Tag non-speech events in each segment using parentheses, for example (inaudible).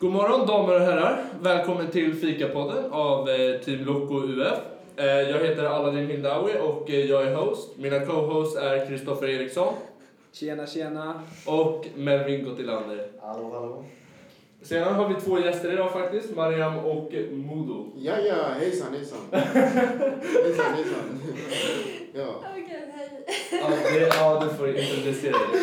God morgon damer och herrar. Välkommen till Fikapodden av eh, Team Loco UF. Eh, jag heter Aladdin Hindawi och eh, jag är host. Mina co-hosts är Kristoffer Eriksson Tjena, tjena. och Melvin Gottilander. Hallå, hallå. Senare har vi två gäster idag faktiskt, Mariam och Modo. Ja, ja, hejsan, hejsan. hejsan, hejsan. ja. Åh gud, hej. Ja, det, ja, du får introducera dig.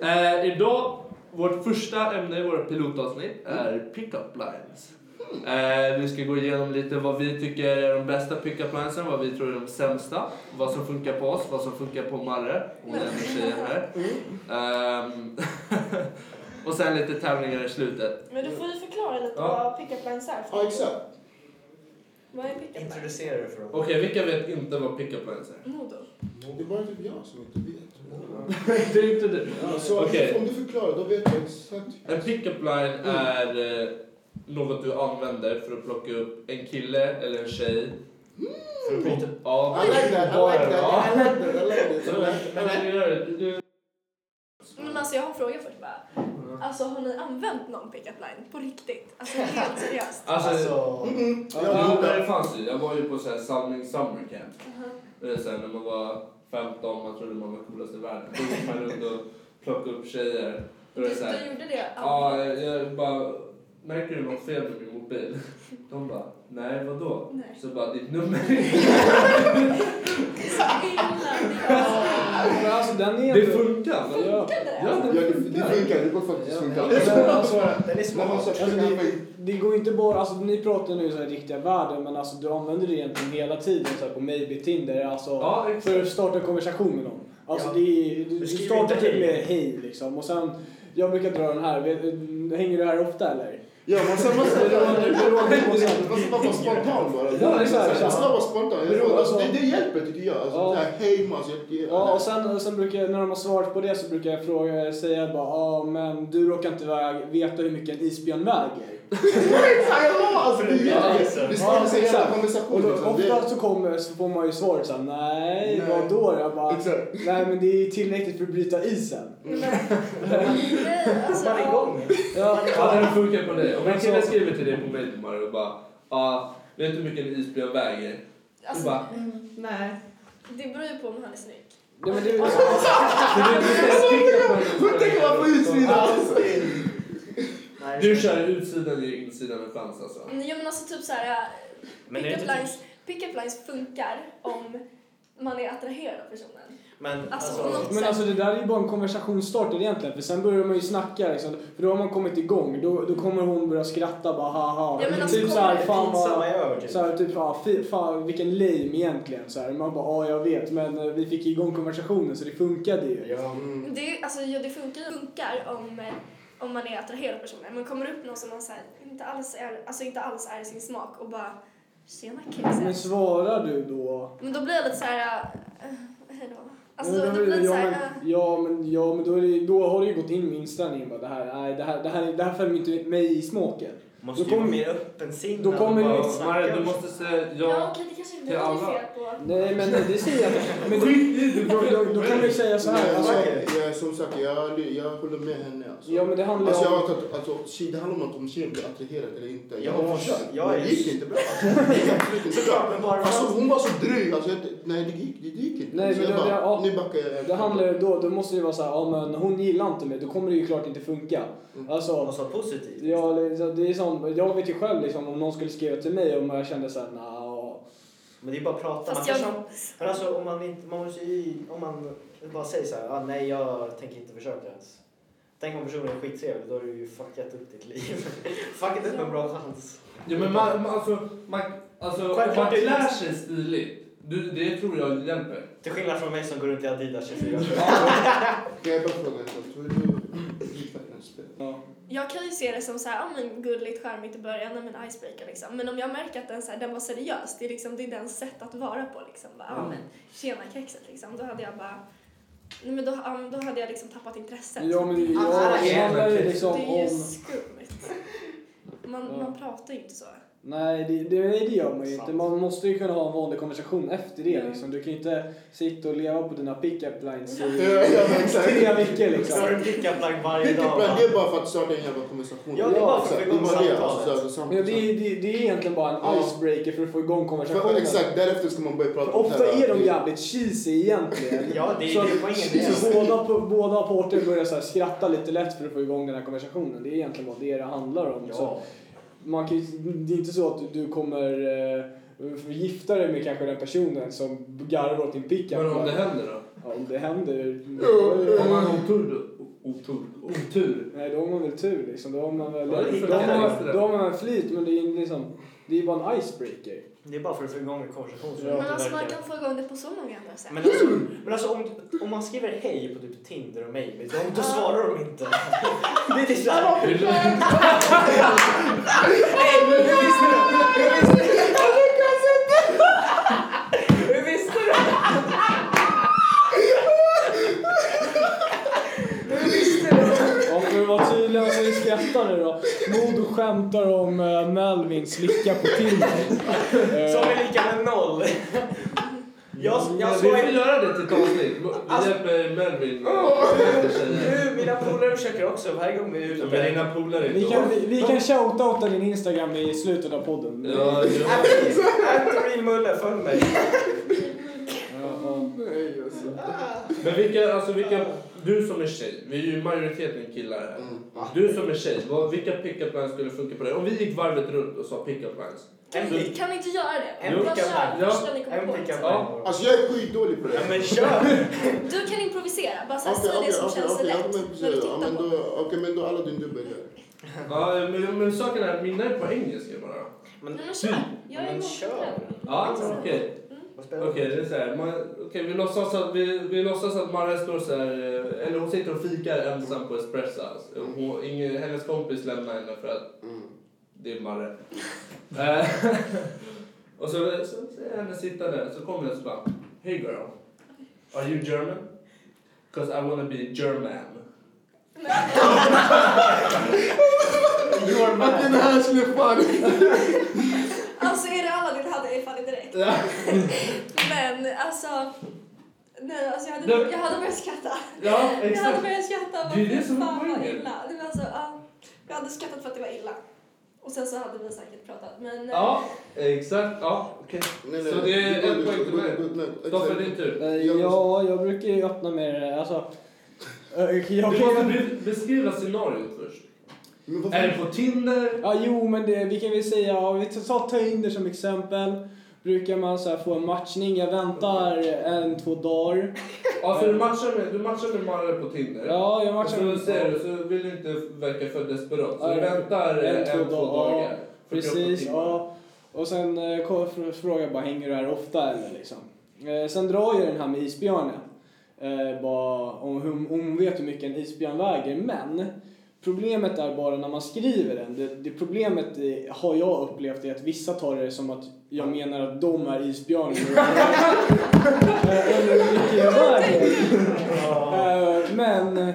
Hej. Eh, idag, vårt första ämne i vårt pilotavsnitt är pickup lines. Eh, vi ska gå igenom lite vad vi tycker är de bästa pickup linesen, vad vi tror är de sämsta, vad som funkar på oss, vad som funkar på Marre och den tjejen här. Ehm, (laughs) och sen lite tävlingar i slutet. Men du får ju förklara lite Ja. vad pickup lines är. Ja, exakt. Vad är pickup lines? Introducera dig för dem. Okej, vilka vet inte vad pickup lines är? Modo. Det är bara typ jag som inte vet. (laughs) det är inte du. Ja, så Okej. om du förklarar, då vet jag exakt. En pickup line Mm. är eh, något du använder för att plocka upp en kille eller en tjej. För att byta. Ja, Mm. I like that, I like that, I like that, I like that. I like that. Men du gör det, du- du- Men alltså jag har en fråga först bara. Mm. Alltså har ni använt någon pickup line på riktigt? (laughs) Alltså helt seriöst? Alltså, Alltså, Ja, men det fanns ju. Jag var ju på så här samling summer camp. Det är så här, när man var 15, man trodde man var coolast i världen. Då gick man runt och plockade upp tjejer. Då är Du, det så här, du gjorde det? ja, jag- jag bara, märker du något fel med min mobil? De bara, nej vadå? Nej. Så bara, ditt nummer. (laughs) Det är så illa. Men alltså den är Det funkar! va? Ja. Funkade det? Ja, Ja, det det det funkar. funkar, det går faktiskt funka. Men alltså, den är När smart. man så Alltså, försöker det, man- det går inte bara, alltså ni pratar nu så här i riktiga världen men alltså du använder det egentligen hela tiden så här på maybe Tinder alltså Ja, exakt. för att starta en konversation med någon. Alltså Ja. det är, du, du skriver startar inte typ hej. med hej liksom och sen jag brukar dra den här, Vet- hänger du här ofta eller? Ja, man ska man ska- Det råder- det råder- man ska- man ska bara vara spontan bara. Ja, exakt. Man ska vara spontan. Det råder- Alltså- Det det hjälper tycker jag. Alltså, Ja. det här, hej man, så jag- det- Ja och sen, och sen brukar jag, när de har svarat på det så brukar jag fråga, säga bara ja men du råkar inte väg, veta hur mycket en isbjörn väger. Alltså, det hjälper. Det Ja, skapar sig en jävla exakt. konversation. Och då, liksom. Det- ofta så, kommer, så får man ju svaret såhär, nej, Nej. vadå då? Jag bara, Exakt. nej men det är ju tillräckligt för att bryta isen. Nej, alltså. Hoppar (laughs) ja. igång. Ja, Hade den funkat på dig? Om en kille skriver till dig på Mailmar och bara, ah, vet du hur mycket en isbjörn väger? (laughs) Du Alltså, bara, nej. Det beror ju på om han är snygg. nej, men det, Alltså, Hur tänker man på utsidan? Nej, Du kör utsidan ger insidan en chans alltså. Ja men alltså typ såhär, Men är det pickup inte lines, pick lines funkar om man är attraherad av personen. Men Alltså, alltså, något- men alltså det där är ju bara en konversationsstarter egentligen för sen börjar man ju snacka liksom, för då har man kommit igång. Då, då kommer hon börja skratta bara haha. Ja, men alltså, typ kommer liksom- såhär, det fan pinsamma vad... är över typ. Så här, typ, ah, fy, fan vilken lame egentligen. Så här. Man bara, ja jag vet men eh, vi fick igång konversationen så det funkade ju. Ja. Det, är- alltså, ja, det funkar, ju- funkar om, eh, om man är attraherad av personen. Man kommer upp någon som man så här, inte, alls är, alltså, inte alls är i sin smak och bara “tjena Men kexet”. svarar du då? Men då blir jag lite så här... eh, hej då. Alltså, men då det blir blir det- så ja, här... men, eh, ja, men, ja, men då, är det, då har du ju gått in med inställningen bara det här, nej, det här, det här, det här följer inte mig i smaken. Måste Då ju vara kommer- mer öppensinnad. då kommer liksom- och det- bara snacka Mario, du om måste säga ja, ja. okej, det kanske är till vi alla. det är fel på. Nej, men det säger jag inte. Men då, då, då, då kan du säga så här, Nej, alltså, alltså, jag, som sagt, jag, jag håller med henne. Alltså. ja men det handlar Alltså, jag om... har tagit, alltså, shit, det handlar om att om tjejen blir attraherad eller inte. Ja, Jag har försökt. jag men är- det gick inte bra. Alltså. Det gick absolut inte Såklart, men bra. bara Alltså, hon var så dryg. Alltså, jag, nej, det gick, det gick inte. Nej, så men jag det- bara, det- ja. nu backar jag. Det handlar ju då, då måste det ju vara så här, ja men hon gillar inte mig, då kommer det ju klart inte funka. Mm. Alltså, Något så positivt. ja, liksom, det är som, jag vet ju själv liksom om någon skulle skriva till mig om jag kände såhär, nja... Men det är bara att prata. Man Fast jag... jag... som, men alltså, om man inte, man måste ju, om man bara säger så här, ah, nej jag tänker inte försöka ens. Tänk om personen är skittrevlig, då har du ju fuckat upp ditt liv. (laughs) fuckat upp en bra chans. ja men man, man, alltså, man, alltså, om man Självklart är det- klär sig stiligt. Du, det tror jag hjälper. Till skillnad från mig som går runt i Adidas 24 Kan jag bara fråga en sak? Tror du du gillar hennes spel? Ja. Jag kan ju se det som så här, ja, men gulligt, charmigt i början, men en icebreaker liksom. Men om jag märker att den, så här, den var seriös, det är, liksom, det är den sätt att vara på liksom. Bara, ja, Mm. men tjena kexet liksom. Då hade jag bara, nej, men då, ja, men då hade jag liksom tappat intresset. Ja men Alltså, ja, Alla det är handlar ju faktiskt- liksom det är ju om... skumt. Man, Ja. man pratar ju inte så. Nej, det, det, nej, det gör man ju Sant. inte. Man måste ju kunna ha en vanlig konversation efter det. Mm. Liksom. Du kan ju inte sitta och leva på dina pick-up lines Ja, i ja, exakt. tre veckor liksom. Står det pick-up line varje Vilket dag? plan, va? det är bara för att starta en jävla konversation. Ja, det är bara för att få exakt. igång Det är bara det, samtalet. alltså, starta Men samtalet. det, är- det, det är egentligen bara en Ja. icebreaker för att få igång För, konversationen. exakt, därefter ska man börja prata För om ofta är de det här. jävligt cheesy egentligen. Ja, det Så- är ju poängen. det (laughs) är- Så båda, båda parter börjar så här skratta lite lätt för att få igång den här konversationen. Det är egentligen vad det det handlar om. Så Ja. man kan, ju- det är inte så att du kommer eh, gifta dig med kanske den personen som garvar åt din pickup. Men om det händer då? Ja, om det händer. Om man har otur då? O- Otur? Otur? Nej, då har man väl tur liksom. Då har man väl, Ja, det är då har inte man, det. då har man väl flyt, men det är ju liksom, det är ju bara en icebreaker. Det är bara för att få igång en konversation. så Ja. det Men inte alltså man verkar- kan få igång det på så många andra sätt. Men alltså, men alltså om, om man skriver hej på typ Tinder och Maybe, då, då Ah. svarar de inte. Det är typ så här... Vill du- Hur visste du? Hur visste du? Jag lyckas inte! Hur visste du? Ja, för att vara tydliga så vi skrattar nu då. Modo skämtar om eh, Melvins lycka på (laughs) Tinder. Eh, Som är lika med noll. Jag, Ja, jag vi får svarar... göra det till ett avsnitt. Vi Alltså- hjälper Melvin. Du, mina polare försöker också varje gång vi är ute. Med dina polare. vi kan, vi, vi kan shoutouta din Instagram i slutet av podden. Ja, ja. Ät mulle, följ mig. Ja, Nej, alltså. Men vilka, alltså vilka, du som är tjej, vi är ju majoriteten killar här. Mm. Du som är tjej, vad, vilka pick-up lines skulle funka på dig? Om vi gick varvet runt och sa pick-up lines. En Så- pick- Kan vi inte göra det? En Bara pick-up kör line. första ni en kommer pickup på. liksom. line. Alltså jag är skitdålig på det. Ja, men kör! Du kan improvisera, bara säg Okej, Alltså, det okej, som okej, känns okej, lätt. ja, men när du precis. Ja, tittar men på. då- Okej, men då alla din dubbel här. Ja, men, men saken är, mina är på engelska bara. Nej men kör, jag är Mm. Men emot kör. det. Ja, okej. Okej, det är så här. Man, okej, vi, låtsas att, vi, vi låtsas att Maria står så här, eh, eller hon sitter och fikar ensam på Espresso House. Hon, ingen, hennes kompis lämnar henne för att Mm. det är Marre. (laughs) Eh, och så, så ser jag henne sitta där, så kommer jag så bara, Hey girl, are you German? Cause I wanna be German. (laughs) (laughs) Your Att den här skulle fan... Alltså är det Aladdin hade jag ifall direkt. Men alltså, nej alltså jag hade, Nej. jag hade börjat skratta. Ja, Jag hade exakt. börjat skratta. Det är det vad som är fan vad poängen. illa. Nej, men alltså, ja, jag hade skrattat för att det var illa. Och sen så hade vi säkert pratat. Men Ja, exakt. Ja, okej. Nej, Så det är en poäng till mig. Stoffe, din mig. tur. Eh, ja, jag brukar ju öppna med alltså, eh, jag Du kan ju- måste be- beskriva scenariot först. Men Är varför? det på Tinder? Ja, jo, men det, vi kan väl säga, om vi tar Tinder som exempel, brukar man så här få en matchning. Jag väntar en, två dagar. Ja, så du matchar med, du matchar med Marre på Tinder? Ja, jag Och matchar så ser du, så vill du inte verka för desperat. Så Ja, du ja. väntar eh, en, två dagar. Precis, 48 timmar. ja. Och sen eh, ko- fr- frågar jag bara, hänger du här ofta eller liksom? Eh, sen drar jag den här med isbjörnen. Eh, bara, om, hon, hon vet hur mycket en isbjörn väger, men problemet är bara när man skriver den. Det, det problemet eh, har jag upplevt är att vissa tar det som att jag menar att de är isbjörnar. Eh, eller hur mycket jag väger. Eh, Men eh,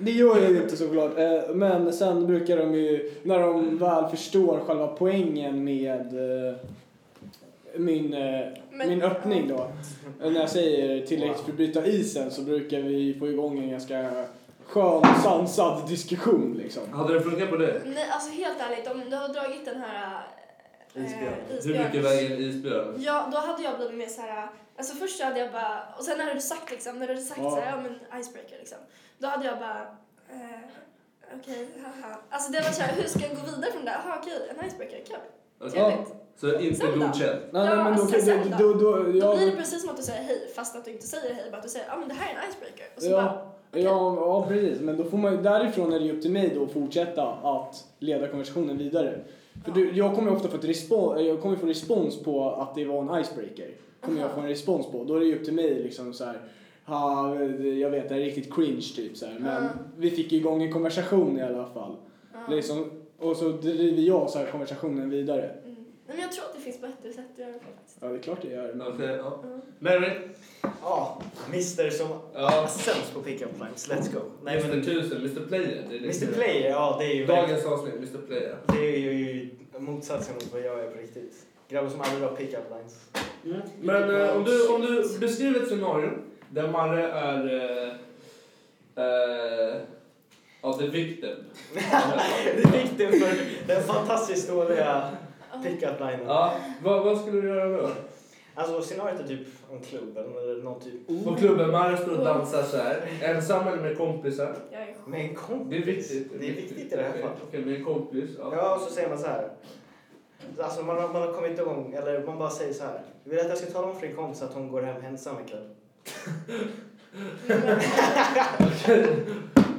det gör jag ju inte såklart. Eh, Men sen brukar de ju, när de väl förstår själva poängen med eh, min, eh, Men- min öppning då. Eh, När jag säger tillräckligt för att bryta isen så brukar vi få igång en ganska skön sansad diskussion liksom. Hade det funkat på det? nej, alltså helt ärligt, om du har dragit den här eh, Isbjörn. Hur mycket väger en isbjörn? Ja, då hade jag blivit mer så här... Alltså först så hade jag bara... Och sen när du sagt liksom, när du sagt Ja. så här, ja men icebreaker liksom. Då hade jag bara... Eh, okej, haha. Alltså det var så här, hur ska jag gå vidare från det? Jaha okej, en icebreaker, kul. Okej. Trevligt. Så inte Sen då? godkänt? Nej, Ja, nej, men då, alltså, sen då, då, då, Då ja, blir det precis som att du säger hej fast att du inte säger hej, bara att du säger ja men det här är en icebreaker. Och så bara, ja, ja, ja, precis. Men då får man ju, därifrån är det ju upp till mig då att fortsätta att leda konversationen vidare. För Ja. du, jag kommer ju ofta få, ett respons, jag kommer få respons på att det var en icebreaker. Kommer jag få en respons på. Då är det ju upp till mig liksom så här. Ha, jag vet, det är riktigt cringe typ så här. Men Ja. vi fick ju igång en konversation i alla fall. ja. Liksom, och så driver jag så här konversationen vidare. Mm. Nej, Men jag tror att det finns bättre sätt att göra det på faktiskt. Ja, det är klart det gör. Men... Okej, eh, ja. Ja. Mary? Ja, Mr som Ja. är sämst på pick-up lines. Let's go. Nej, men, Alltså, Mr 1000, Mr Player. Det är liksom- Mr Player, ja det är ju... Dagens avsnitt, Mr Player. Det är ju motsatsen mot vad jag är på riktigt. Grabbar som aldrig har pick-up (laughs) lines. Men eh, om, du, om du beskriver ett scenario där Marre är... Eh, eh, ja, the victim. Du fick den för den fantastiskt dåliga Ja. pick-up (laughs) linen. ja, vad, vad skulle du göra då? Alltså scenariot är typ en klubb eller någon typ Mm. På klubben, Marre står och dansar så här. Ensam eller med kompisar. Jag är sjuk. med en kompis. Det är viktigt. Det är viktigt i det här Okej, fallet. Okej, med en kompis. Ja. Ja, och så säger man så här. Alltså man har, man har kommit igång, eller man bara säger så här. Du vill att jag ska tala om för din kompis att hon går hem ensam ikväll?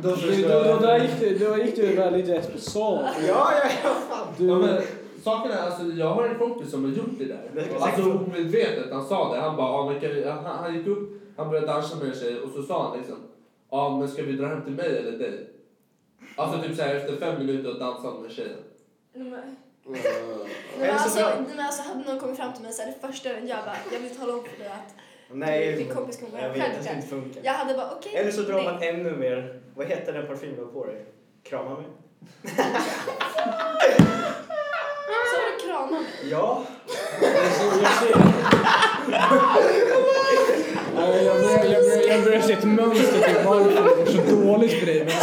Då Du, då, då, där gick du, då gick du väldigt rätt på sak. Ja, ja, ja, fan! Ja, Du, men, saken är, alltså, jag har en kompis som har gjort det där. Det- Alltså omedvetet, han sa det. Han bara, ja, men kan vi, han, han gick upp, han började dansa med en tjej och så sa han liksom, ja men ska vi dra hem till mig eller dig? Alltså typ såhär efter fem minuter och dansat med tjejen. Nej, men- Är Nej, det men så alltså, bra? nej, men alltså, hade någon kommit fram till mig så här, det första jag gör bara, jag vill tala om för dig att Nej, din kompis kommer gå jag hem vet, själv det skulle ikväll. inte funka. Jag hade bara okej. Eller så drar nej. man ännu mer. Vad heter den parfym du har på dig? Krama mig? Så har du kramat mig. (laughs) Ja. Alltså, Ja, jag börjar- jag börjar- jag börjar se ett mönster till varför det går så dåligt för dig. Men...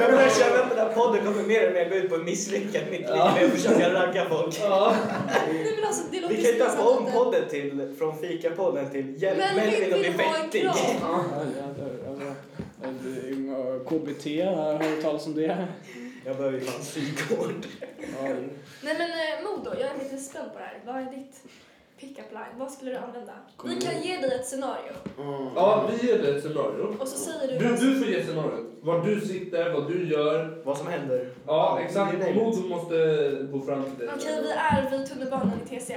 Jag börjar känna att den här podden kommer mer och mer gå ut på en misslyckad mitt liv med att försöka ragga folk. Nej men alltså det låter Vi kan ju så pinsamt döpa om att- podden till, från fikapodden till Hjälp Men mig vi vill bli vill ha en vettig. kram. Ja, jävlar, jävlar. Det är ju- KBT, har jag hört talas om det? (laughs) Jag behöver ju fan psykvård. Ja, Nej men eh, Mo då, jag är lite spänd på det här. Vad är ditt pick-up line? Vad skulle du använda? Kommer Vi kan ihåg. ge dig ett scenario Ja, vi ger dig ett scenario. och så säger du... Du, du får ge scenariot. Var du sitter, vad du gör. Vad som händer. Ja, Ja, det är exakt. det. Mod måste gå fram till dig. Okej, vi är vid tunnelbanan i TC.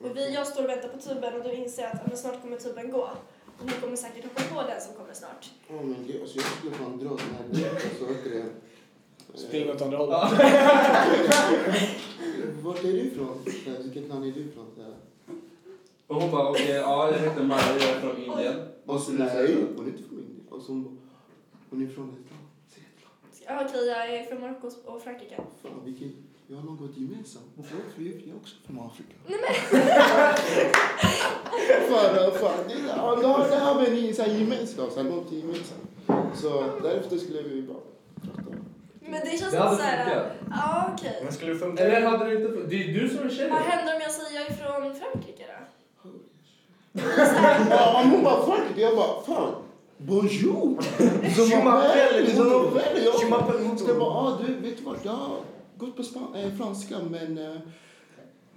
Och vi, jag står och väntar på tuben och du inser att ja, men snart kommer tuben gå. Och ni kommer säkert hoppa på den som kommer snart. Åh men gud, alltså jag skulle fan dra den här direkt. Alltså, vet du det? Spring åt andra hållet. Eh, Vart är du ifrån? Så här, Vilket land är du ifrån? Så här. Och hon bara, okej, ja jag heter Maja, jag är från Indien. Och så nej, hon är inte från Indien. Och så hon bara, hon är från ett land. Säg ett land. Ja, Okej, jag är från Marocko och Frankrike. Fan vilket, vi har något gemensamt. Jag är fri- jag är också från Afrika. Nej men (laughs) Fan, ja, fan. Det, ja, då har det här med en så här gemenskap, så här, något gemensamt. Så därefter skulle vi bara prata. Mm. Men det känns Det inte hade såhär... funkat. Ja, okej. Men skulle det funka? (laughs) Eller hade det inte funkat? Det är du som är tjejen. Vad händer om jag säger jag är från Frankrike då? Ja, men hon bara, fuck it. Jag bara, fan. Bonjour! Je m'appelle Som Modo. man väl, jag Je m'appelle Modo. Jag bara, ah, du, vet du vad? Jag har gått på span- eh, franska, men... Eh,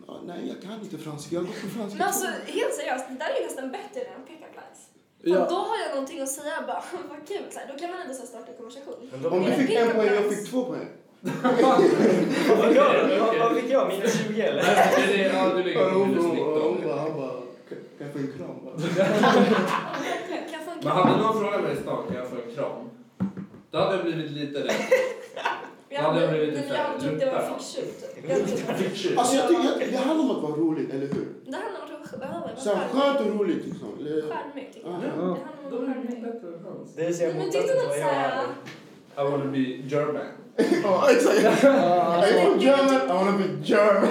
ja, nej, jag kan inte franska. Jag har gått på franska. Men alltså helt seriöst, det där är ju nästan bättre än pick-up lines. För Då Ja. har jag någonting att säga bara, (laughs) vad kul, så här, då kan man ändå så här starta en konversation. Men då- Om du Vad fick en poäng, jag fick två poäng. fick jag? (laughs) Vad- Vad fick jag? Minus 20 eller? Nej, det är- Ja, du ligger på minus 19. bara, han bara, kan jag få en kram? bara? Kan, kan få en Men hade någon frågat mig i stan, kan jag få en kram? Då hade jag blivit lite rädd. Jag hade jag blivit nej, lite men jag hade trott det var luttrad. ficksurt. Jag tror- Fick Alltså, jag tycker att det handlar om att vara rolig, eller hur? Det handlar om att vara charmig. Så här, skönt och roligt, liksom. Eller- Charmig, tycker jag. Ja. Det handlar om att vara charmig. Det vill säga Nej, men tyckte motsatsen du till något vad jag hade. såhär... I wanna be German. Ja, exakt. Are Alltså, you from German? I wanna be German.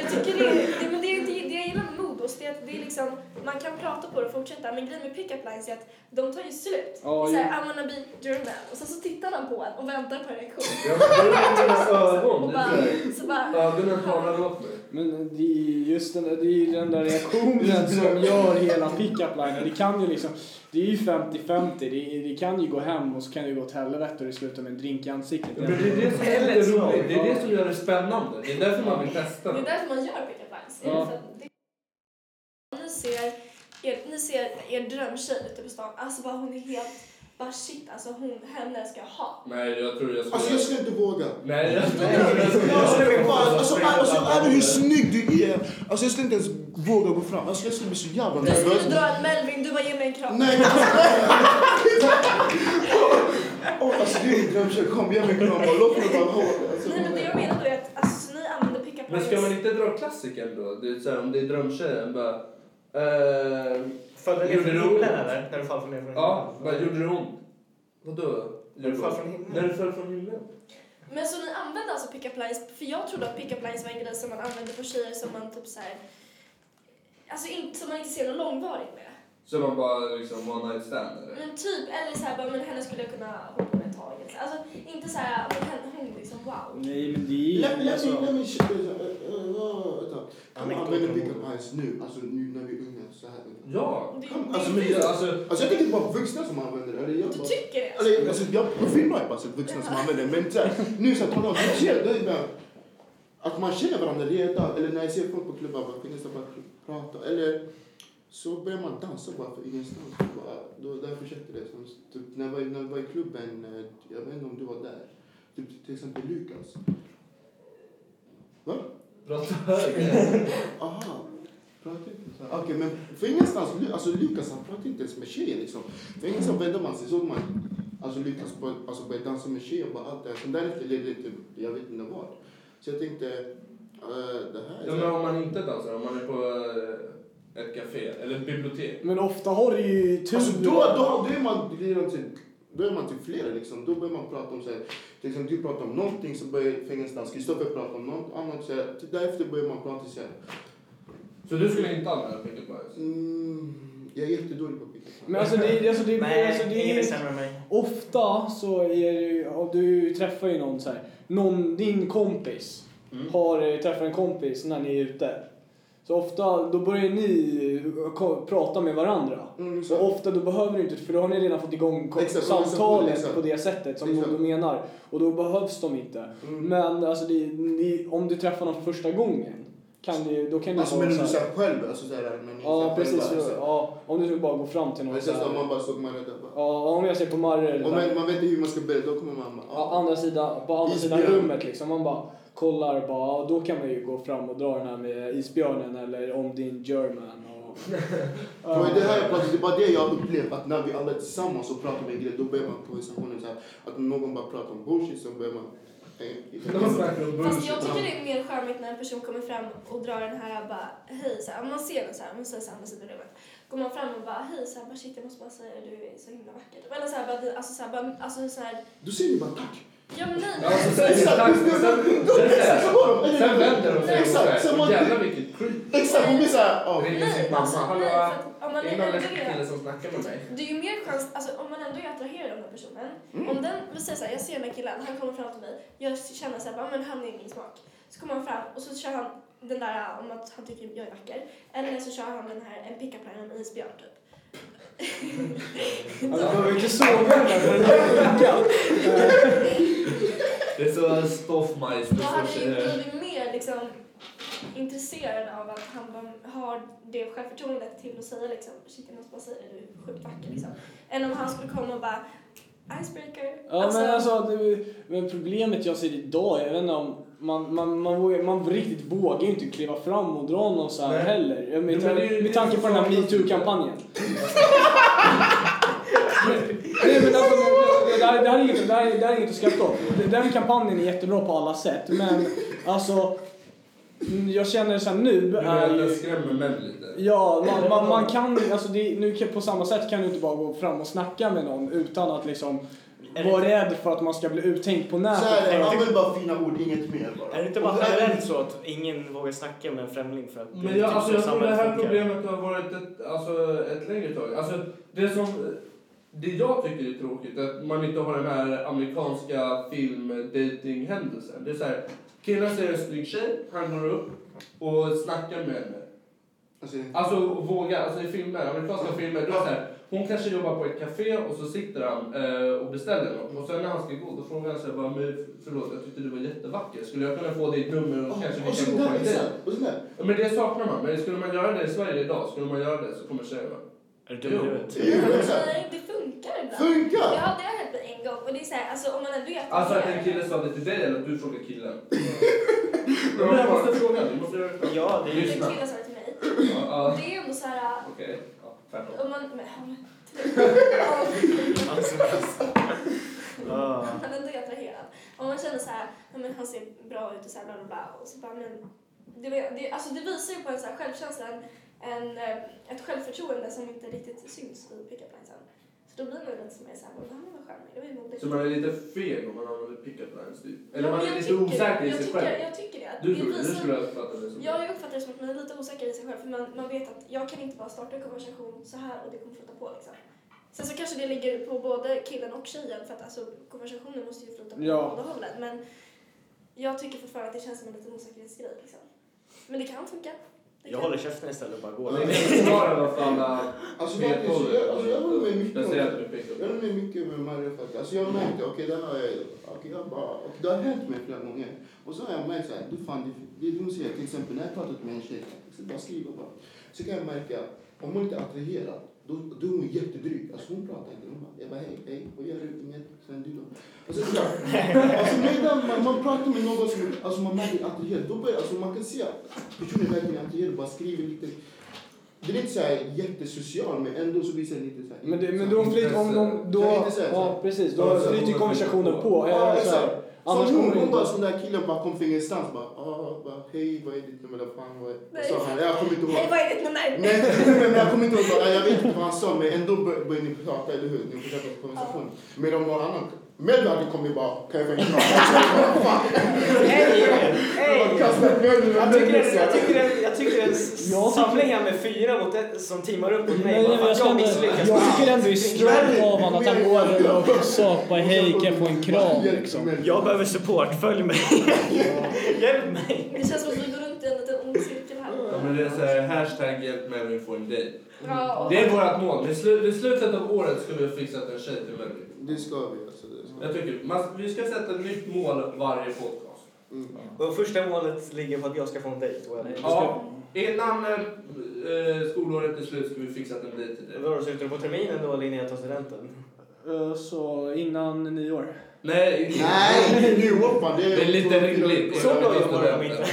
Jag tycker det, är- det, men det, är inte- det jag gillar med Modos det är att det är liksom, man kan prata på det och fortsätta men grejen med pick-up lines är att de tar ju slut. Ja, Oh, såhär, ju. I wanna be German och sen så tittar man på en och väntar på en reaktion. Jag har mina Och ögon. det är bara, så här. så bara, Ögonen talar åt mig. Men det är ju just den, det är ju den där reaktionen som gör hela pick-up linen. Det kan ju liksom, det är ju 50-50. Det, är- det kan ju gå hem och så kan det ju gå åt helvete och det slutar med en drink i ansiktet. Men det är det som är Eller lite så. roligt. Det är det som gör det spännande. Det är därför man vill testa. det är därför man gör pick-up lines. Det är Ja. för att det- Ni ser er, ni ser er drömtjej ute på stan, alltså bara hon är helt, bara shit alltså hon, henne ska jag ha. Nej, jag tror jag Alltså, skulle... jag skulle inte våga. Nej, jag tror jag skulle... Alltså, alltså, alltså, är det hur snygg du är? Alltså, jag skulle inte ens våga gå fram. Alltså, jag skulle bli så jävla Du skulle nervös. dra en Melvin, du bara ge mig en kram. Nej! Åh, alltså, det är min drömtjej. Kom, ge mig en kram. Låt mig bara ha det. Alltså, Nej men det jag menar då är att alltså, ni använder pick-up lines Men ska man inte dra klassikern då? Det är så här, om det är drömtjejen bara... Eh, Föll du ner från Gjorde det himlen ont? eller? När du fall från ner från himlen? ja, bara gjorde det ont? Vadå? När du Gjorde fall ont? från När himlen? du föll från himlen? Men så ni använde alltså pick-up lines? För jag trodde att pick-up lines var en grej som man använde på tjejer som man typ så här, Alltså in, som man inte ser något långvarigt med. Så man bara liksom one night stand eller? Men typ, eller så här, bara, men henne skulle jag kunna hålla på med ett tag. Alltså inte så här, men henne, hon liksom wow. Nej, men det är Let ju... me, let me, Alltså, let me, sh- eh, eh, eh, vänta. Kan man använda pick up lines nu? Alltså nu när vi är unga, så här unga. Ja! Det, Alltså, men, det, alltså, alltså jag tänker inte bara på vuxna som använder det. Eller jag du bara, tycker det? Alltså. eller, alltså, jag, på film har jag bara sett vuxna som använder det. Men så här, nu så här, tonårskultur, det är bara att man känner varandra redan. Eller när jag ser folk på klubbar, bara finns det bara prata. Eller så börjar man dansa bara för ingenstans. Bara, då, där fortsätter det. Som, typ, när, jag var, när jag var i klubben, eh, jag vet inte om du var där. Typ, till exempel Lukas. Prata högre. Aha. Pratar inte så här. Okej, men för ingenstans, Lu- alltså Lukas han pratar inte ens med tjejer liksom. För ingenstans vände man sig, såg man alltså Lukas bör- alltså, började dansa med tjejer och bara allt det här. Sen därefter ledde det till, jag vet inte vad. Så jag tänkte, eh, det här är ja, men om man inte dansar, om man är på eh, ett café eller ett bibliotek. men ofta har du ju tur. Alltså då, då, då är man redan till, då är man till flera liksom. Då börjar man prata om så här, till exempel du pratar om någonting så börjar fängelsedans, Kristoffer prata om något annat så här. Därefter börjar man prata så här. Så du skulle inte använda pick-up lines? Mm, jag är jättedålig på pick Men alltså det är... Alltså, det, är- alltså, Nej, det ingen är är sämre än mig. Ofta så är det ju, om du träffar ju någon så här, någon, din kompis Mm. har eh, träffar en kompis när ni är ute. Så ofta, då börjar ni eh, ko- prata med varandra. Mm, Så ofta då behöver du inte, för då har ni redan fått igång ko- Exakt, samtalet exakt. på det sättet som Exakt. du menar. Och då behövs de inte. Mm. Men alltså, det, det, om du träffar någon för första gången, kan du, då kan du Alltså ha men så du här- såhär själv, alltså såhär när ni Ja, precis. själva. så- Ja, om du skulle bara går fram till någon Men så sen så här, man bara såg man rädda bara. Ja, om jag ser på Marre eller Om man, man vet inte hur man ska börja, då kommer man bara... Ja, andra sidan, på andra sidan Isbjörn. rummet liksom. Man bara kollar och bara, ja, då kan man ju gå fram och dra den här med isbjörnen eller om din German (laughs) och... Det var ju det här jag pratade, det var det jag upplevt att när vi alla är tillsammans och pratar om en grej, då börjar man konversationen såhär. Att någon bara pratar om bullshit, så börjar man... Fast jag tycker det är mer charmigt när en person kommer fram och drar den här bara hej så här, om man ser den så här, om man säger så här, andra sidan rummet. Går man fram och bara hej så här, bara shit jag måste bara säga du är så himla vacker. Eller så här, bara, det- alltså så här, bara, alltså så här, Du säger ju bara tack! ja men nej. Ja, så säger du tack, men sen- sen- Exakt! så var de. Eller- Sen vänder de sig och så Exakt! Sen här, man, jävlar vilket creep. exakt, hon blir såhär... Oh. Ringer Nej, sin alltså, mamma. nej, för Hallå, att om är man det är någon äldre läskig kille som snackar med mig? Det är ju mer chans, alltså om man ändå är attraherad av den här personen. Mm. Om den, vi säger såhär, jag ser den här killen, han kommer fram till mig. Jag känner såhär, bara, men han är min smak. Så kommer han fram och så kör han den där äh, om att han tycker jag är vacker. Eller så kör han den här, en pick-up line om isbjörn typ. Alltså man behöver inte såga den här, men den är lyckad. Det är så stoffmajs. Då hade jag ju blivit mer liksom intresserad av att han bara har det självförtroendet till att säga liksom, shit jag måste bara säga det, du är sjukt vacker liksom. Än om han skulle komma och bara, icebreaker. Ja men alltså, det, men problemet jag ser idag, jag vet inte om... Man, man, man, vågar, man riktigt vågar ju inte kliva fram och dra någon så här Nej. heller. Jag Jo, Med, men det är ju- med tanke på den (laughs) här metoo-kampanjen. Nej men alltså, det, det, här, det, här är inget, det, här, är- det här är inget att skratta åt. Den kampanjen är jättebra på alla sätt men alltså mm, jag känner sen nu Du är menar att den ju... skrämmer män lite? Ja, man, man, man kan alltså det, nu kan- på samma sätt kan du inte bara gå fram och snacka med någon utan att liksom vara rädd för att man ska bli uttänkt på nätet. Såhär, för att- använd bara fina ord, inget mer bara. Är det inte bara generellt så att ingen vågar snacka med en främling för att det Men är jag, typ alltså, så jag tror det samhället här funkar? problemet har varit ett, alltså, ett längre tag. Alltså, det, som, det jag tycker är tråkigt är att man inte har den här amerikanska film dating händelsen Det är så här, killen ser en snygg tjej, han går upp och snackar med henne. Alltså, Alltså våga, alltså i filmer, amerikanska filmer, då är det så här, hon kanske jobbar på ett café och så sitter han eh, och beställer något. Och sen när han ska gå, då frågar han sig bara, "Men förlåt jag tyckte du var jättevacker, skulle jag kunna få ditt nummer och kanske och vi kan sånt gå på där, en liksom. dejt? exakt. Och sånt där. Ja, Men det saknar man. Men skulle man göra det i Sverige idag, skulle man göra det så kommer tjejerna. Är du dum i huvudet? Jo, exakt. Nej, det funkar ibland. Funkar! Ja, det har hänt mig en gång. Och det är så här, alltså om man ändå vet Alltså vad att det är. en kille sa det till dig eller att du frågar (laughs) killen. Men jag måste fråga, du måste göra det. Ja, det är ju... Lyssna. En kille sa det till mig. Ja, ja, Det är ändå så här, Okej, ja, tvärtom. om man, men, om Alltså. Ja. man ändå är attraherad. Om man känner så här, ja, men han ser bra ut och så här bla bla bla. Och så bara, men det, var- det, alltså det visar ju på en så här självkänsla, en, en, eh, ett självförtroende som inte riktigt syns i pickup linesen. Så då blir man ju lite mer såhär, det här var skön, det var ju modigt. Så man är lite feg om man använder pickup lines typ? Eller Ja, man men är jag lite tycker- osäker i jag sig tycker- själv? Jag tycker det. Du Det skulle, du visar- skulle ha uppfattat det som Ja, jag uppfattar det som att man är lite osäker i sig själv för man, man vet att jag kan inte bara starta en konversation så här och det kommer flytta på liksom. Sen så kanske det ligger på både killen och tjejen för att alltså, konversationen måste ju flytta på Ja. båda hållen men jag tycker fortfarande att det känns som en liten osäkerhetsgrej liksom. Men det kan funka. Det Jag kan. håller käften istället och bara går. Ja. Jag har i alla fall Alltså, jag, medhåll. alltså, jag, alltså, jag håller med mycket om Jag säger att det. du är pickup lines. Jag håller med mycket med Maria faktiskt. Alltså jag märkte, okej den har jag, okej jag bara, och det har hänt mig flera gånger. Och så har jag märkt såhär, du fan det, det hon säger till exempel när jag pratat med en tjej, så bara skriver bara. Så kan jag märka, om hon inte är attraherad, då, då är hon jättedryg. Alltså hon pratar inte, hon bara, jag bara hej, hej, vad gör du? Inget, sen du då? Och så, (laughs) så här, alltså medan man, man pratar med någon som, alltså man märker attraherad, då börjar, alltså man kan se att personen verkligen är attraherad, bara skriver lite. Det är inte såhär jättesocial, men ändå så visar det lite såhär. Men, det, men då flyter... Om de, då, Kan vi inte säga så? alltså. ja, precis. Ja, Då ja, flyter ju kommer konversationen flyta på. på. Ja, Ja, så exakt. här. Annars Annars Som kommer hon, det hon bara, inte... sån där killen bara kom från ingenstans. Bara, ah, bara, hej, vad är ditt nummer? Vad fan, vad är... Vad Nej. sa han? Jag kommer inte Hej, ihåg. vad är ditt nummer? Nej, (laughs) men jag kommer inte ihåg. Bara, "Ah, jag vet inte vad han sa, men ändå bör- börjar ni prata, eller hur? Ni försöker få konversation. Men om någon annan... Mello hade kommit bara, kan jag få en kram? Hej! Jag Hej! kastar Mello Jag över tycker det bussen. jag tycker det- jag tycker det är en Jag samling här med fyra mot ett, som teamar upp mot mig Nej, bara nej, för men att jag, jag känner, misslyckas. jag tycker (laughs) ändå det är strongt av honom att han går över och Och sapar så hej, får kan jag få en kram hjälp liksom. med- Jag behöver support, följ mig. Hjälp mig. Det känns som att vi går runt i en liten ond cirkel här. Ja, men det är så här, hashtag hjälp mig att få en dejt. Ja, och Det är vårt mål. Vid, slu- vid slutet av året ska vi ha fixat en tjej till Melvin. Det ska vi alltså. Det ska. Jag tycker man, vi ska sätta ett nytt mål varje podcast. Mm. Och första målet ligger på att jag ska få en dejt. Och jag- Ja, innan eh, eh, skolåret är slut ska vi fixa en dejt till dig. Vadå, sitter du på terminen då Linnea tar studenten? Eh, Så innan nyår. Nej, Nej, nu hoppar det. Det är lite rimligt. Så bra Jag jobbar de vet inte.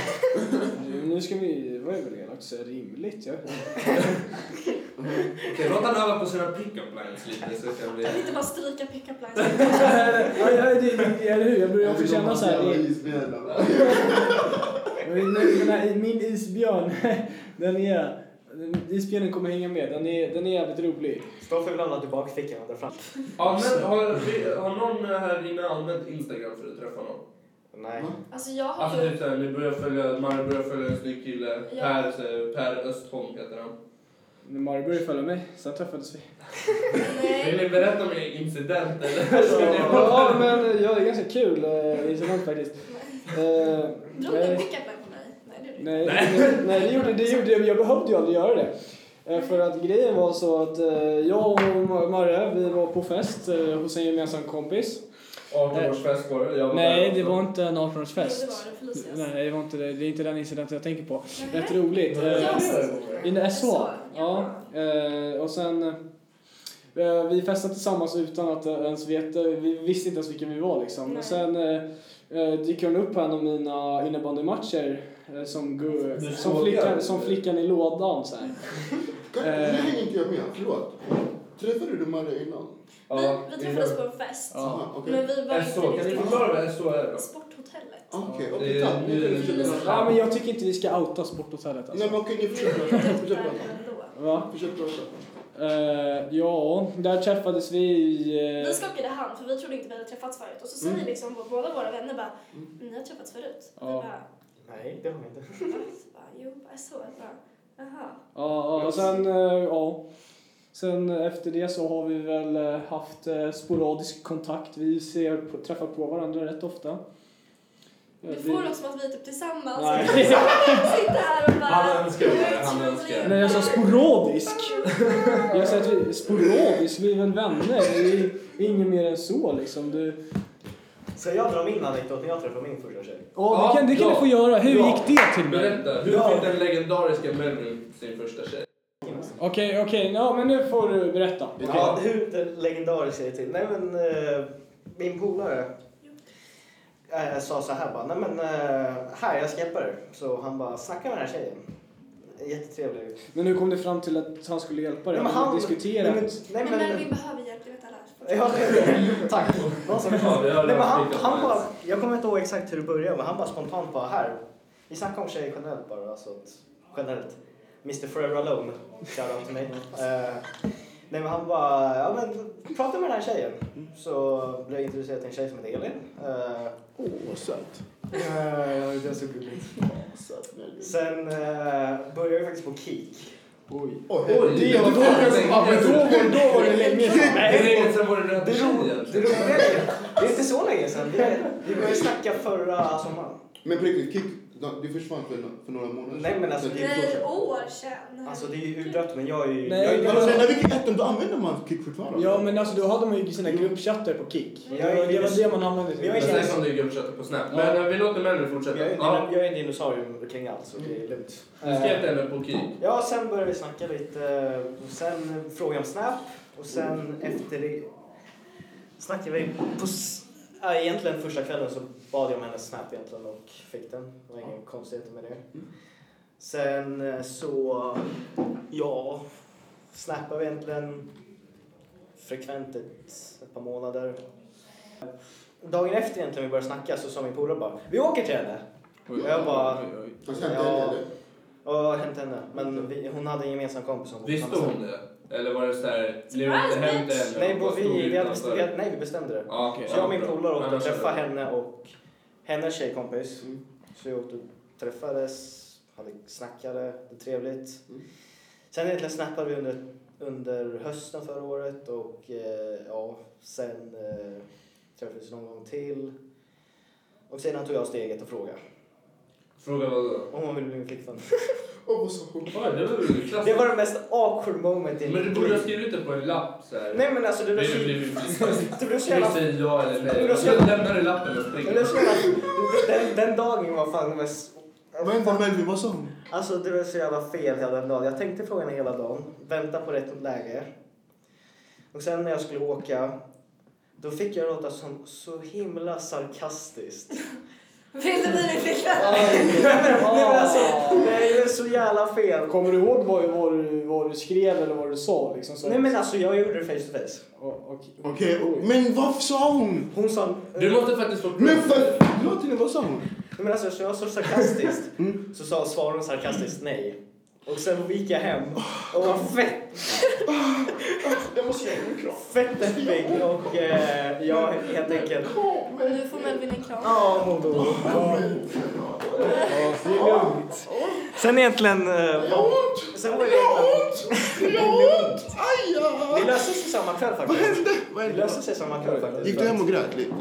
Nu ska vi... Vad är väl elakt att säga rimligt? Jag vet inte. Okej, låt han öva på sina pickup lines lite så kan vi... Jag vill inte bara stryka pickup lines. Ja, ja, det- det- Eller hur? Jag börjar också känna så här. det- Jag vet inte, den här- Min isbjörn, (laughs) den är... den- Isbjörnen kommer hänga med. Den är, den är jävligt rolig. Stoffe vill hamna tillbaka i fickan och dra fram. Ja, men har, vi, har någon eh, här inne använt Instagram för att träffa någon? Nej. Alltså jag har Alltså ju... typ såhär, ni börjar följa, man börjar följa en snygg kille. Ja. Per, så- per Östholm heter han. När Mario började följa mig, sen träffades vi. Vill Nej. ni berätta om er incident eller? Ska ni hålla- Ja, men ja, det är ganska kul eh, incident faktiskt. Eh, Drog du nej, en pickup line på mig? Nej, det gjorde du inte. nej, nej, nej, det gjorde, det gjorde jag. Jag behövde ju aldrig göra det. Eh, För att grejen var så att eh, jag och Ma- Marre, vi var på fest eh, hos en gemensam kompis. 18-årsfest var det. jag var där Nej, också. det var inte en Jo, 18-årsfest. det var det. Felicias. Nej, det var inte det. Det är inte den incidenten jag tänker på. Nej. Rätt roligt. Ja, Eh, det In SH? Ja. Eh, och sen... Eh, vi festade tillsammans utan att eh, ens veta, vi visste inte ens vilka vi var liksom. Nej. Och sen eh, eh, dyker hon upp på en av mina innebandymatcher eh, som, gu- Du som, sågar. flickan, som flickan i lådan så här. Kan, Eh. Nu hänger inte jag med, förlåt. Träffade du Maria innan? Ja, vi, vi det är träffades på en fest. Aha, okej. Men vi var SH, kan inte ni riktigt... förklara vad SH är då? Sporthotellet. Ah, Okej, Ja, okej, det är- tack. det är- Nu kan vi köpa- Ja, men jag tycker inte vi ska outa sporthotellet Nej alltså. men okej, ni försöker (laughs) Vi prata. var Försök där prata. ändå. Va? Försök prata. Eh, ja, där träffades vi i... eh, Vi skakade hand för vi trodde inte vi hade träffats förut. Och så säger Mm. liksom vår- båda våra vänner bara, Mm. ni har träffats förut. Ja. Vi bara, Nej, det har vi inte. "Va?" Så bara, jo, bara SH. Bara, Jaha. Ja, ja, och sen, eh, ja. Sen efter det så har vi väl eh, haft eh, sporadisk kontakt. Vi ser, på- träffar på varandra rätt ofta. Eh, Du vi- får det som att vi är typ tillsammans. Nej. (laughs) Sitter här och bara... Han önskar det, han önskar det. Nej, alltså, jag sa sporadisk. Jag sa att vi, sporadisk, vi är väl vänner. Vi är inget mer än så liksom. Du, Ska jag dra min anekdot när jag träffade min första tjej? ja, det kan, det kan du få göra. Hur Ja. gick det till mig? Berätta, hur Ja. fick den legendariska Melvin sin första tjej? Okej, okej. Ja, men nu får du berätta. Ja, hur det legendariskt är det till? Nej men, eh, min polare eh, sa så här bara, nej men eh, här jag skeppar dig. Så han bara, snacka med den här tjejen. Jättetrevlig. Men hur kom du fram till att han skulle hjälpa dig? Nej, men Har ni han- diskuterat? Nej men, nej, Men Melvin men behöver hjälp, det vet alla. Ja, (laughs) tack. Någon som- (laughs) Ja, vi har Nej, men han, lite han plats. bara, jag kommer inte ihåg exakt hur det började men han bara spontant bara här. Vi snackar om tjejer generellt bara. Alltså att, generellt. Mr Forever Alone. Shoutout till mig. Eh, nej men han bara, ja men prata med den här tjejen. Så blev jag introducerad till en tjej som heter Elin. Eh, Åh, vad söt. eh, det är så (laughs) gulligt. Söt, väldigt. Sen eh, började jag faktiskt på Kik. Oj. Åh, Oj, herregud. det var Ja, men då, var- då var det länge sedan. Det är länge sedan var det Det röd tjej roliga det egentligen. roliga är, det är inte så länge sedan. Vi, vi började snacka förra sommaren. Men på riktigt, Kick, du försvann för, för några månader Nej, men alltså, Så- det är Nej, år sedan. Alltså det är ju urdött men jag är ju... Nej, jag är ju det- Alltså, när vi gick i ettan, då använde man Kick fortfarande. Ja men alltså då hade man ju sina gruppchatter på Kik. Men Det jag är var det, ju- var det man använde Men jag Men är till. ju- (laughs) sen kom det ju gruppchatten på Snap. Men eh, vi låter Melvin Jag fortsätta. är, Ja. jag är en dinosaurie kring allt så det är lugnt. Du skrev till henne på Kik. Ja, sen började vi snacka lite. Och sen frågade jag om Snap. Och sen efter det snackade vi på... s- Ja, egentligen första kvällen så bad jag om hennes Snap egentligen och fick den. Det var inga konstigheter med det. Sen eh, så... Ja, snappade vi egentligen frekvent ett, ett par månader. Dagen efter egentligen vi började snacka så sa min polare bara Vi åker till henne! Och jag bara... Fast inte Ja. henne, eller? Ja, hämta henne. Men vi, hon hade en gemensam kompis som bodde på Visste samma hon det? Eller var det såhär... Surprise, Blev det inte hem till bitch! henne? Nej, och bo- stod vi, vi, utanför? hade bestämt, vi hade, nej, vi bestämde det. Ja, okej. Så jag och min Ja, bra. polare åkte Annars och hade träffade det- henne och hennes tjejkompis. Mm. Så vi åkte och träffades, hade snackade, det var trevligt. Mm. Sen egentligen snappade vi under, under hösten förra året och eh, ja, sen eh, träffades vi någon gång till. Och sedan tog jag steget och frågade Fråga vad då? om hon ville bli min flickvän. Åh, vad så sjukt. Oj, det var väl klassiskt. Det var det mest awkward moment i Men du mitt borde ha liv. skrivit det på en lapp såhär. Nej men alltså det var Vill så du bli min (laughs) flickvän? Alltså, Det blev så Ska du jävla... säga ja eller nej? Men då ska- Då lämnar du lappen och Det blev springer. så jävla... Den, den dagen var fan mest... Vänta, Melvin, vad sa hon? Alltså det blev så jävla fel hela den dagen. Jag tänkte frågan hela dagen. Vänta på rätt läge. Och sen när jag skulle åka. Då fick jag låta som så himla sarkastiskt. Vill du bli min flickvän? Nej men alltså, nej, det blev så jävla fel. Ah. Kommer du ihåg vad, vad, du, vad du skrev eller vad du sa liksom? Så Nej men alltså jag gjorde det face to face. Och- och- Okej, och- men vad sa hon? Hon sa... Du måste faktiskt få... Men för... Förlåt, Tine, vad sa hon? Nej, men alltså, så jag var så sarkastiskt. Så sa svarade hon sarkastiskt nej. Och sen gick jag hem och var fett Jag måste göra en kram. Fett deppig och eh, jag helt enkelt... Nu får Melvin en kram. Ja, Modo. Sen egentligen... Eh, Jag har ont! sen var Jag det har egentligen... ont! Jag har ont! Aj, ja. Det löste sig samma kväll Vad faktiskt. hände? Vad Det hände? löste sig samma kväll faktiskt. Gick du hem och grät lite?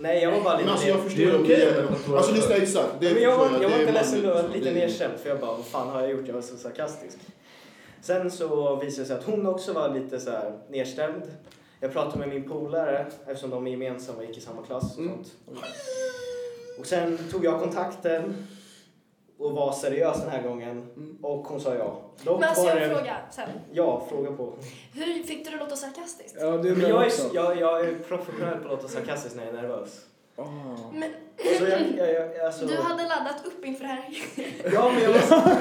Nej, jag var bara Men lite alltså jag ner... förstår. Det är okej det. med tatueringar. Alltså lyssna exakt. Det Men jag, förstår var, jag Det var är inte ledsen, manligt. jag var lite Det- nedkänd för jag bara, vad fan har jag gjort? Jag var så sarkastisk. Sen så visade det sig att hon också var lite så här nedstämd. Jag pratade med min polare eftersom de är gemensamma och gick i samma klass Mm. och sånt. Och sen tog jag kontakten och var seriös den här gången Mm. och hon sa ja. Dock Men alltså var jag har det- en fråga sen. Ja, fråga på. Hur fick du det att låta sarkastiskt? Ja, det Men undrar jag jag, är, också. jag, jag är professionell på att låta sarkastisk när jag är nervös. Ah. Men Så jag, jag, jag, alltså, du hade laddat upp inför det här Ja, men jag var...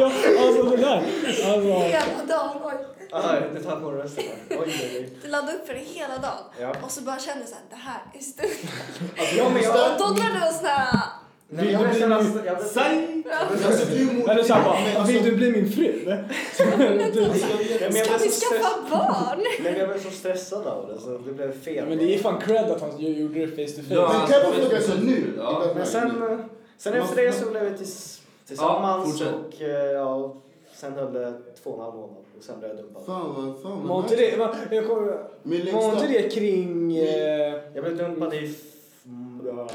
Ja, alltså det där. Alltså. hela dagen. Oj. Aha, jag har inte tagit på rösten. Oj, oj, oj. Du laddade upp för det hela dagen. Ja. Och så bara kände du såhär, det här är stort. Alltså, ja, men jag... Och då drar du en sån här... Nej, jag vill känna... Jag vill, Säg! Alltså, du är emot- Eller såhär Men bara, alltså- vill du bli min fru? (laughs) Alltså, jag vet- nej, men jag Ska blev vi så stressad. skaffa barn? Nej, men jag blev så stressad av det så det blev Ja, fel. Men det är fan cred att han gjorde det face to face. Ja. Men kan jag bara fråga så här nu? Ja. I den här Men sen, eh, nu. sen efter det så blev vi tills, tillsammans Ja, fortsätt. och eh, ja, sen höll det två och en halv månad och sen blev jag dumpad. Fan vad... Fan vad... Var inte det, var, jag kommer, Min var längsta... inte det kring... eh, Jag blev dumpad i f- mm, äh,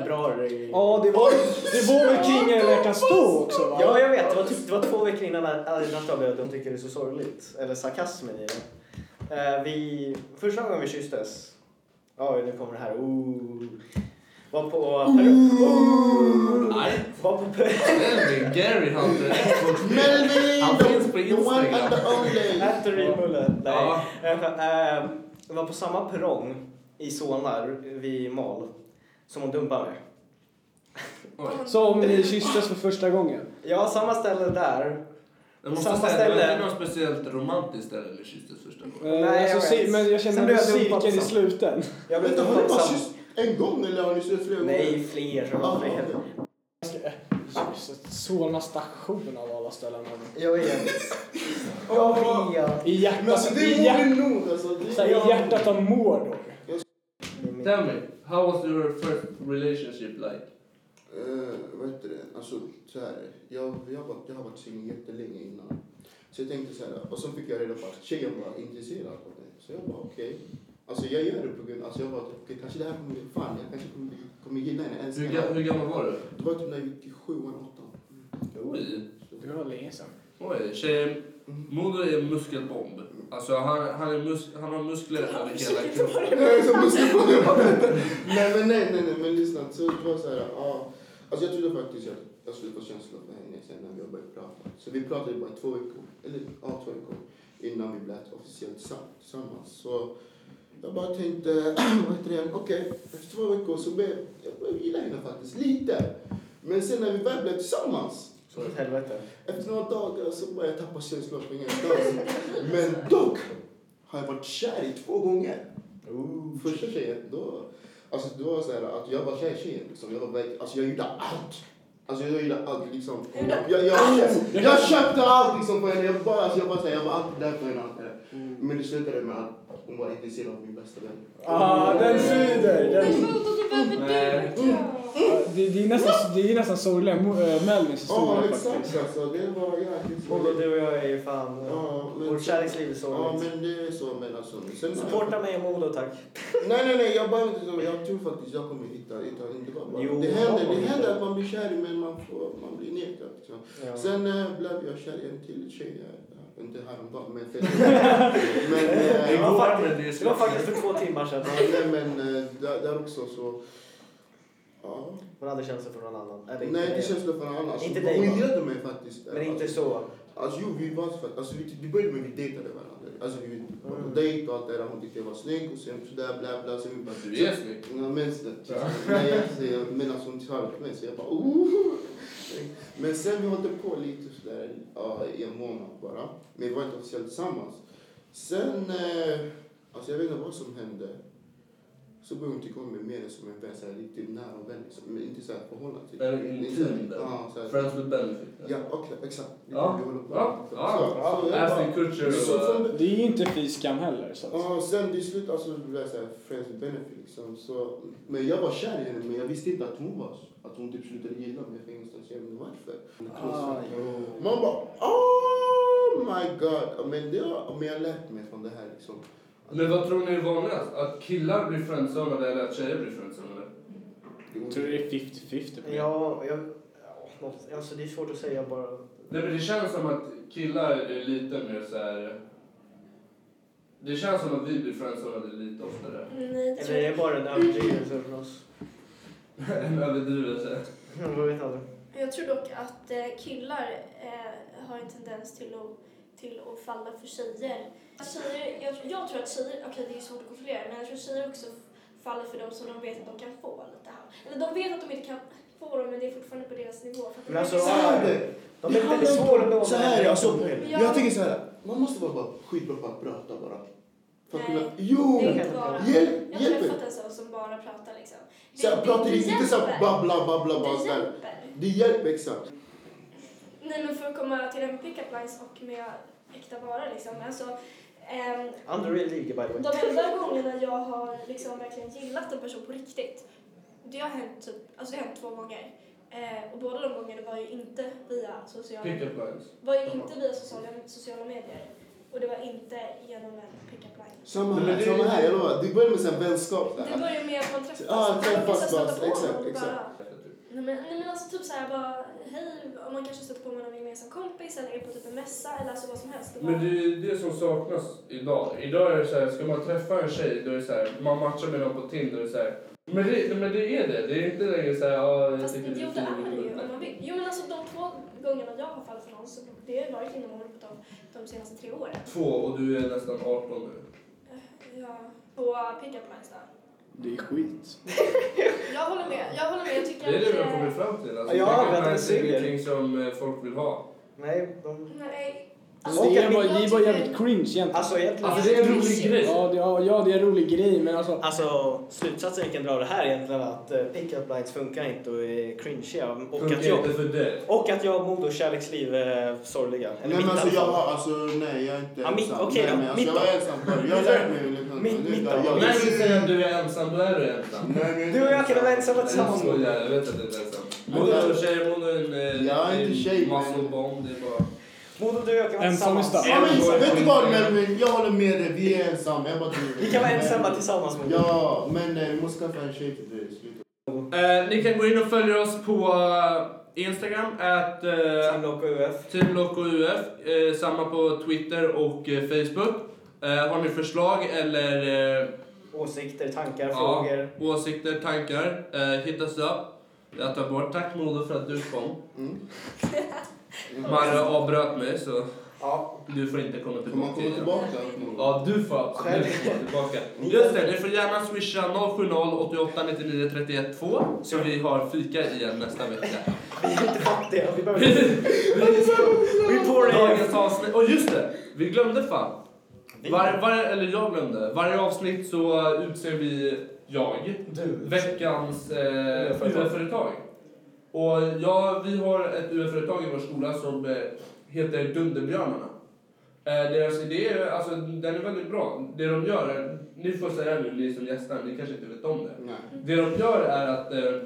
februari. Ja, det var, det var väl kring en veckans stå också va? Ja, jag vet. Det var, typ, det var två veckor innan Adidas blev dumpad. De tycker det är så sorgligt. Eller sarkasmen i det. Eh, vi, första gången vi kysstes. Ja, nu kommer det här. Ooh. Var på Peru. Ooh. Oh. Nej. Var på Peru. (laughs) Melvin, Gary Hunter, Xbox. Han Melvin! finns på the- The one Instagram. and the only! Äter rivmulle. Nej. Ja. Eh, eh, var på samma perrong i Solna vid Mal som hon dumpade mig. Som ni kysstes för första gången. Eh, Ja, samma ställe där. Jag måste Samma säga, det var ställe. inte något speciellt romantiskt ställe eller kysstes första gången. Eh, Nej, jag alltså, vet. ci- men jag känner Sen mig blev jag dumpad cirkeln i sen. sluten. Jag blev Vänta, har dumpad ni bara samma... kysst en gång eller har ni sett flera gånger? Nej, fler. Ja, fler. också. Solna station av alla ställen. Jag vet. Jag vet. I Men alltså hjärtat, det i hjärtat, är modig nog alltså. Det så här, i är hjärtat av Mordor. Tell me, how was your first relationship like? Eh, vad heter det? Alltså, så här, jag, jag, var, jag har varit singel jättelänge innan. Så jag tänkte så här, och så fick jag reda på att tjejen var intresserad av mig. Så jag bara okej. Alltså jag gör det på grund av, alltså jag bara typ, okej kanske det här kommer bli fan, jag kanske kommer, bli- kommer gilla henne, älska Hur, ga- henne. hur gammal var du? Det var typ när jag gick i sjuan, åttan. Oj. Det var länge sedan. Oj, tjejen. Mm. Moder är en muskelbomb. Alltså han, han, är mus- han har muskler över hela kroppen. Nej, så måste jag bara- nej men nej, nej, nej, men lyssna. Så det var så här, ja. Alltså jag trodde faktiskt att jag skulle få känslor för henne sen när vi började prata. Så vi pratade bara i två veckor, eller ja, två veckor innan vi blev officiellt sam- tillsammans. Så jag bara tänkte, (clears throat) vad heter det, okej, efter två veckor så började jag började gilla henne faktiskt lite. Men sen när vi väl blev tillsammans Så åt helvete. efter några dagar så började jag tappa känslor för ingen dans. Men dock har jag varit kär i två gånger. Första tjejen, då... Alltså det var så här att jag var kär i tjejen liksom. Jag var verkligen... Alltså jag gjorde allt. Alltså jag gjorde allt liksom. Jag, jag, jag, jag köpte allt liksom på henne. Jag bara, alltså, jag bara så här, jag var alltid där för henne. allt det där. Men det slutade med att hon var intresserad av min bästa vän. Ah, den svider! Det är Den... sjukt att du behöver dyrka. Det, det är nästan, det är nästan sorgliga Mo- äh, Melvins Ja historia faktiskt. exakt alltså. Det var jäkligt Både du och jag är ju fan... eh, Ja, men- Vårt kärleksliv är Ja sorgligt. men det är så men alltså. Sen, Supporta mig och Modo tack. Nej, nej, nej. Jag, behöver inte, så. jag tror faktiskt jag kommer hitta... hitta inte bara, bara. Jo, det jag händer, kommer det händer hitta. att man blir kär i men man, får, man blir nekad. Liksom. Ja. Sen eh, blev jag kär i en till tjej. eh, Inte häromdagen, (laughs) men... men, eh, Det var går faktiskt- men det är Det var slut. faktiskt för två timmar sedan. ja, nej, men eh, där, där också så... Ja. Man hade känslor för någon annan. Eller inte Nej, mig. det känns för en annan. Alltså, Inte inte dig, hon va? gillade mig faktiskt. Men inte alltså, så. Alltså, jo, vi var faktiskt... Alltså, vi, vi började med att vi dejtade varandra. Alltså, vi var Mm. på dejt och allt det där. Hon tyckte jag var snygg och sen sådär, bla, bla. Sen vi bara... Du är snygg. Jag minns det. Nej, jag ser- men alltså hon talade till mig så jag bara oh. Men sen vi håller på lite sådär ja, i en månad bara. Men vi var inte officiellt tillsammans. Sen, eh, alltså jag vet inte vad som hände. Så började hon tycka om mig mer som en vän, såhär riktigt nära vän liksom. Men inte såhär förhållande typ. till. En intim vän. Ja, såhär. Friends with benefit. Ja, okej, exakt. Vi Ja. håller på. Ja, Så- ja. så jag bara- Ashton Kutcher Så och... från eh, det- Det är ju inte fy skam heller. Så att... Ja, sen till slut alltså, det blev så här friends with benefit liksom. Så, men jag var kär i henne men jag visste inte att hon var så. Att hon typ slutade gilla mig. Jag fick ingenstans jag vet inte varför. Ah, jo. Man bara oh my god. Men, det, har- men jag har lärt mig från det här liksom. Men vad tror ni är vanligast? Att killar blir friendzonade eller att tjejer blir friendzonade? Jag tror det är 50-50 på det. Ja, jag... ja, något- Alltså det är svårt att säga bara. Nej men det känns som att killar är lite mer så här. Det känns som att vi blir friendzonade lite (laughs) oftare. Nej, det Eller tror är jag det bara en överdrivelse från oss? (laughs) En överdrivelse. Jag vet aldrig. Jag tror dock att eh, killar eh, har en tendens till att, till att falla för tjejer. Att tjejer jag, jag tror att tjejer, okej det är svårt att kontrollera, men jag tror tjejer också f- faller för dem som de vet att de kan få lite här. Eller de vet att de inte kan få dem, men det är fortfarande på deras nivå. För att Men de- liksom- alltså, Så här är det. De Det är väldigt handlar om- svåra att nå. Så här, men- alltså, Ja. Jag tänker så här. Man måste vara bara skitbra på att prata bara. För att kunna... Nej. Jo! det är inte bara... Hjälp! Jag Hjälp! har mig. träffat en sån som bara pratar liksom. Det- Så här, prata det inte så här hjälper. babbla, babbla, bara Det så här. hjälper. Det hjälper exakt. Nej men för att komma till det här med pick-up lines och med äkta varor liksom. Alltså, ehm, Underrated League by the way. De enda gångerna jag har liksom verkligen gillat en person på riktigt, det har hänt, typ, alltså det har hänt två gånger. Eh, och båda de gångerna var ju inte via Typ, sociala, Pick-up lines. var ju inte via sociala, sociala medier. Och det var inte genom en pick-up line. Samma Men här, det- samma här, jag lovar. Det börjar med så här vänskap. Det Där. börjar med att man träffas. Ja, man kan träffas stöta bara, på exakt, varandra och exakt. bara- Nej men, nej men alltså typ såhär bara, hej, om man kanske stöter på någon gemensam kompis eller är på typ en mässa eller alltså vad som helst. Det Men bara- det är det som saknas idag. Idag är det så här, ska man träffa en tjej då är det så här, man matchar med någon på Tinder och så här. Men det, men det är det. Det är inte längre så här, ja, jag Fast tycker jo, du det är är det fin. ju om man vill. Jo men alltså de två gångerna jag har fallit för någon så det har varit inom året på de, de senaste tre åren. Två och du är nästan 18 nu. Ja, på pick-up lines där. Det är skit. Jag håller med, jag håller med. Jag tycker Det är det vi har eh, kommit fram till. Alltså, Ja, pick-up vänta, lines det är ser vi. ingenting som eh, folk vill ha. Nej, de... Nej, Alltså, Och det att är bara, min- det är bara jävligt cringe egentligen. Alltså egentligen... Alltså det är en rolig Mysigt. grej. ja, det, ja, ja, det är en rolig grej men alltså. Alltså slutsatsen vi kan dra av det här är egentligen att eh, pick-up lines funkar inte och är cringiga. Och att Funkar jag, inte för dig. och att jag mod och kärleksliv är sorgliga. Eller Nej men mitt alltså jag alltså. har, alltså nej jag är inte Ja, mitt- ensam. okej nej, då, men alltså, mitt jag då. var ensam förr. Jag har lärt mig liksom. Mitt- nu, mitt där, då. jag- Nej, vi säger att du är ensam, då är du ensam. Nej, men jag är Du och jag inte kan vara ensam. ensamma Jag tillsammans. skojar, jag vet att du är ensam. Men Mono jag- och tjejer, mono är en... eh, Jag är inte en tjej, men- Muscle-bomb, det är bara... Mod och du och jag kan vara Ensam i tillsammans. stan. Ja, men, vet du vad Melvin, jag håller med dig. Vi är ensamma. Jag bara driver. Vi kan vara Men- ensamma tillsammans Mod. Ja, men eh, vi måste skaffa en tjej till dig. Sluta. Eh, ni kan gå in och följa oss på eh, Instagram, at eh, Team Lock och UF. Team Loco UF, eh, samma på Twitter och eh, Facebook. Eh, har ni förslag eller eh, Åsikter, tankar, ja, frågor. åsikter, tankar, eh, hit us up. Jag tar bort tack Modo för att du kom. (laughs) Mm. Marre avbröt mig så Ja. du får inte komma Får tillbaka. man komma igen. tillbaka? Ja, du får absolut komma tillbaka. Just det, ni får gärna swisha 070-8899-312 så vi har fika igen nästa (laughs) vecka. Vi har inte fått det. Vi behöver... Vi Vi får det. Dagens avsnitt. Och just det, vi glömde fan. (laughs) Vi- Var, var, eller jag glömde. Varje avsnitt så utser vi jag, Du. veckans eh, UF-företag. UF-företag. Och ja, vi har ett UF-företag i vår skola som eh, heter Dunderbjörnarna. Eh, deras idé är, alltså, den är väldigt bra. Det de gör, är, ni får säga nu, ni som gästar, ni kanske inte vet om det. Nej. Det de gör är att eh,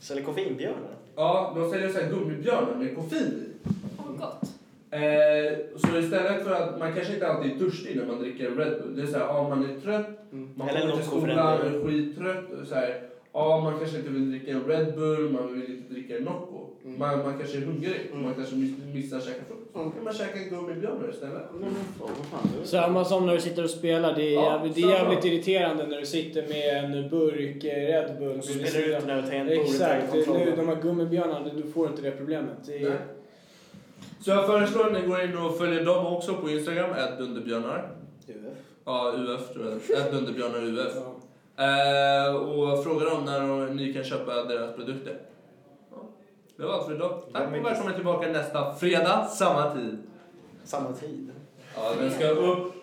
Säljer koffeinbjörnar. Ja, de säljer så här gummibjörnar med koffein i. Och gott. Eh, så istället för att man kanske inte alltid är törstig när man dricker Red Bull. Det är så här, ja man är trött, Mm. man Eller kommer till något går för skolan och den är skittrött. Och så här, ja man kanske inte vill dricka en Red Bull, man vill inte dricka en Nocco. Mm. Man, man kanske är hungrig, Mm. man kanske miss- missar att käka frukost. Då Mm. kan man käka gummibjörnar istället. Nej, men fan, vad fan det är. Samma som när du sitter och spelar. Det är Ja, jävligt, det är samma. jävligt irriterande när du sitter med en burk eh, Red Bull. Så spelar du ut den över tangentbordet. Exakt. utan kontroll. Nu, de här gummibjörnarna, du får inte det problemet. Det är, Nej. Så jag föreslår att ni går in och följer dem också på Instagram, dunderbjörnar. UF. Ja, UF tror jag. dunderbjörnar UF. ja. Eh, och fråga dem när de, ni kan köpa deras produkter. Ja, Det var allt för idag. Tack och välkomna tillbaka nästa fredag, samma tid. Samma tid. Ja, den ska upp